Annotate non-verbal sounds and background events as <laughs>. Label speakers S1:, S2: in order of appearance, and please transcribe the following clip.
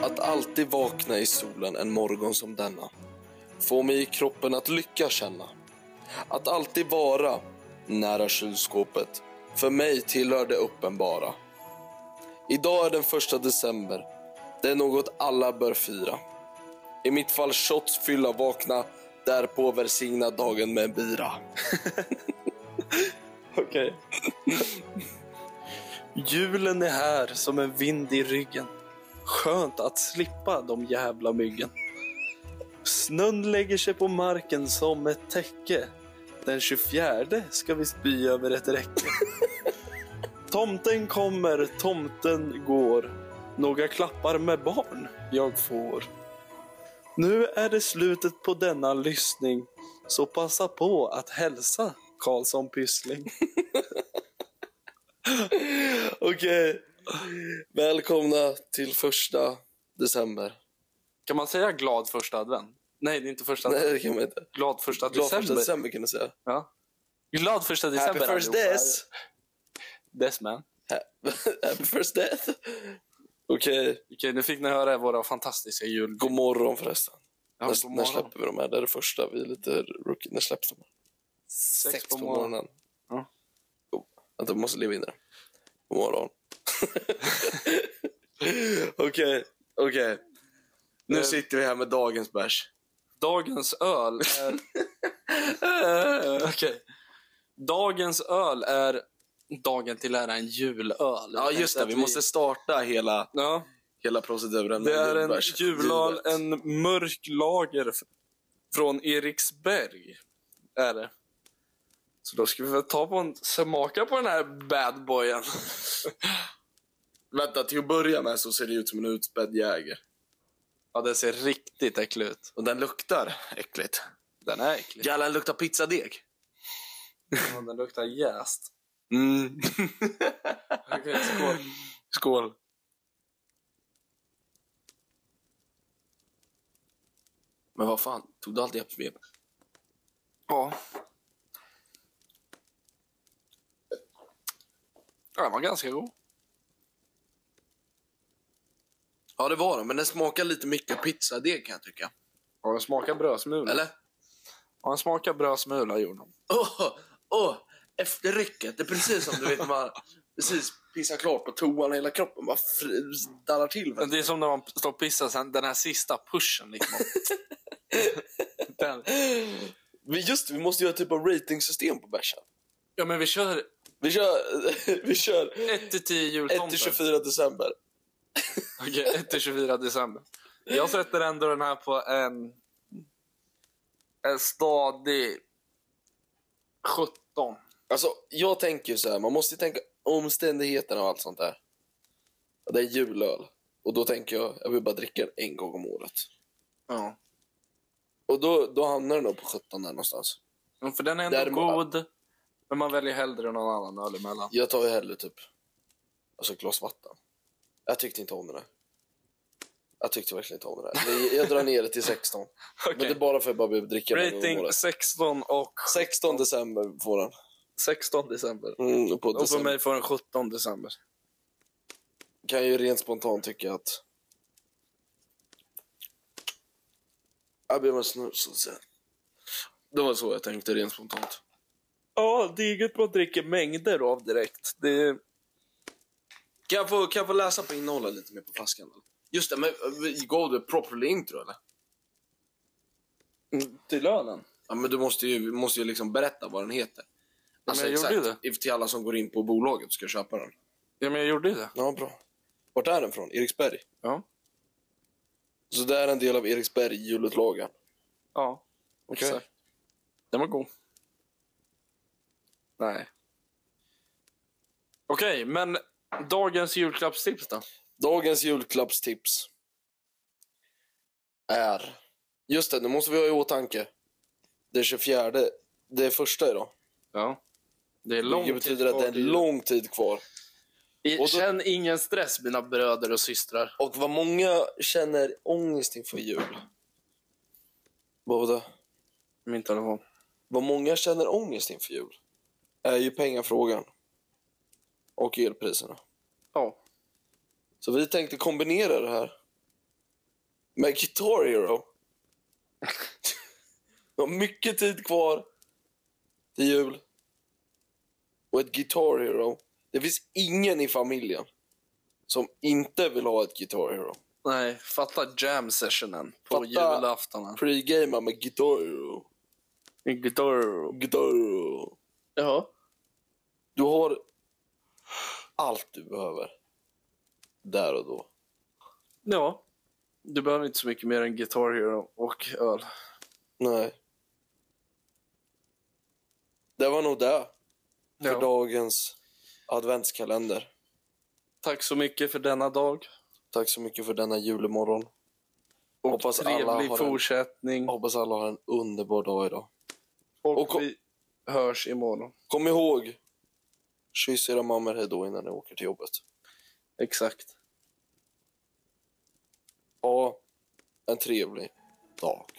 S1: Att alltid vakna i solen en morgon som denna får mig i kroppen att lycka känna. Att alltid vara nära kylskåpet för mig tillhör det uppenbara. Idag är den första december. Det är något alla bör fira. I mitt fall shots, fylla, vakna, därpå välsigna dagen med en bira. <laughs>
S2: Okej. Julen är här som en vind i ryggen. Skönt att slippa de jävla myggen. Snön lägger sig på marken som ett täcke. Den 24 ska vi spy över ett räcke. Tomten kommer, tomten går. Några klappar med barn jag får. Nu är det slutet på denna lyssning. Så passa på att hälsa Karlsson Pyssling.
S1: Okej. Välkomna till första december.
S2: Kan man säga glad första advent? Nej, det är inte första advent.
S1: Nej, det kan man inte.
S2: Glad första
S1: Glad
S2: december.
S1: första december kan du säga.
S2: Ja. Glad första december.
S1: Happy first
S2: allihopa.
S1: death!
S2: Des man.
S1: Happy first death! Okej,
S2: Okej, nu fick ni höra våra fantastiska jul...
S1: god morgon förresten.
S2: Ja,
S1: när,
S2: god
S1: när
S2: morgon.
S1: släpper vi de här? Det är det första. Vi är lite rookie. När släpps de? här?
S2: Sex
S1: Sex
S2: på morgonen. Ja.
S1: Jo, Oh, vänta, vi måste leva in i det. God morgon. <laughs> Okej, okej.
S2: Eh.
S1: Nu sitter vi här med dagens bärs.
S2: Dagens öl
S1: <laughs>
S2: är... Okej. Dagens öl är dagen till ära en julöl.
S1: Ja, just det. Vi måste starta hela,
S2: Ja,
S1: hela proceduren med
S2: det är en
S1: julbärs.
S2: julöl,
S1: Givet.
S2: en mörk lager f- från Eriksberg. Är det. Så då ska vi väl ta på en smaka på den här bad boyen. <laughs>
S1: Vänta, till att börja med så ser det ut som en utspädd jäger.
S2: Ja, den ser riktigt äcklig ut.
S1: Och den luktar äckligt.
S2: Den är äcklig. <laughs>
S1: Jävlar, den luktar pizzadeg.
S2: Ja, den luktar jäst.
S1: Mm.
S2: Okej, skål.
S1: Skål. Men vad fan, tog du allt hjärtsvep?
S2: Ja. ja. Den var ganska god.
S1: Ja, det var det, men den smakar lite mycket pizzadeg kan jag tycka.
S2: Ja, den smakar brödsmula.
S1: Eller?
S2: Ja, den smakar brödsmula gjorde den.
S1: Åh, oh, åh! Efterrycket, det är precis som du vet när man precis pissar klart på toan hela kroppen bara fr- darrar till.
S2: Men Det är som när man står och pissar sen, den här sista pushen <laughs> liksom. den.
S1: Men just det, vi måste göra typ av ratingsystem på bärsen.
S2: Ja, men vi kör
S1: Vi kör, <laughs> vi kör
S2: 1-10 jultomtar.
S1: 1 till 24 december.
S2: Okej, 1-24 december. Jag sätter ändå den här på en... En stadig 17.
S1: Alltså, jag tänker ju så här, man måste ju tänka omständigheterna och allt sånt där. Det är julöl. Och då tänker jag, jag vill bara dricka den en gång om året.
S2: Ja.
S1: Och då, då hamnar den nog på 17 där någonstans.
S2: Men För den är ändå
S1: Däremot-
S2: god, men man väljer hellre någon annan öl emellan.
S1: Jag tar ju hellre typ, alltså ett glas vatten. Jag tyckte inte om det där. Jag tyckte verkligen inte om det där. Jag, jag drar ner det till 16. Men
S2: Okej.
S1: det är bara för att jag bara vill dricka den en gång om
S2: Rating
S1: året.
S2: 16 och
S1: 16 december får den.
S2: 16 december.
S1: Mm, och på
S2: Och för
S1: december
S2: mig får den 17 december.
S1: kan jag ju rent spontant tycka att... Jag blev en snus och sen. Det var så jag tänkte rent spontant.
S2: Ja, det är inget man dricker mängder av direkt. Det är...
S1: Kan jag, få, kan jag få läsa på innehållet lite mer på flaskan? Eller? Just det, men eh, gav du properly intro eller?
S2: Till lönen?
S1: Ja, men du måste ju, vi måste ju liksom berätta vad den heter. Alltså,
S2: jag
S1: exakt,
S2: gjorde ju
S1: Till alla som går in på bolaget och ska köpa den.
S2: Ja, men jag gjorde ju det.
S1: Ja, bra. Vart är den från? Eriksberg?
S2: Ja.
S1: Så det är en del av Eriksberg julutlagan?
S2: Ja.
S1: Okej.
S2: exakt. Den var god. Nej. Okej, men dagens julklappstips då?
S1: Dagens julklappstips är... Just det, nu måste vi ha i åtanke. Det är 24. Det är första idag.
S2: Ja. Det är lång
S1: Det
S2: tid
S1: betyder att
S2: kvar
S1: det är
S2: till jul.
S1: lång tid kvar.
S2: I,
S1: Och då-
S2: Känn ingen stress mina bröder och systrar.
S1: Och vad många känner ångest inför jul. Både.
S2: Min telefon.
S1: Vad många känner ångest inför jul är ju pengafrågan. och elpriserna.
S2: Ja.
S1: Så vi tänkte kombinera det här med Guitar Hero. Vi har mycket tid kvar till jul. Och ett Guitar Hero. Det finns ingen i familjen som inte vill ha ett Guitar Hero.
S2: Nej, fatta jam sessionen på
S1: Fatta-
S2: julaftonen.
S1: Pre-gamea med Guitar Hero. Guitar Hero.
S2: Ja.
S1: Du har allt du behöver. Där och då.
S2: Ja. Du behöver inte så mycket mer än Guitar Hero och öl.
S1: Nej. Det var nog det för
S2: Ja.
S1: dagens adventskalender.
S2: Tack så mycket för denna dag.
S1: Tack så mycket för denna julemorgon.
S2: Och
S1: Hoppas alla
S2: trevlig
S1: har en-
S2: fortsättning.
S1: Jag hoppas alla har en underbar dag idag.
S2: Och,
S1: och-
S2: vi hörs imorgon.
S1: Kom ihåg, kyss era mammor hej då innan ni åker till jobbet.
S2: Exakt.
S1: Ha en trevlig dag.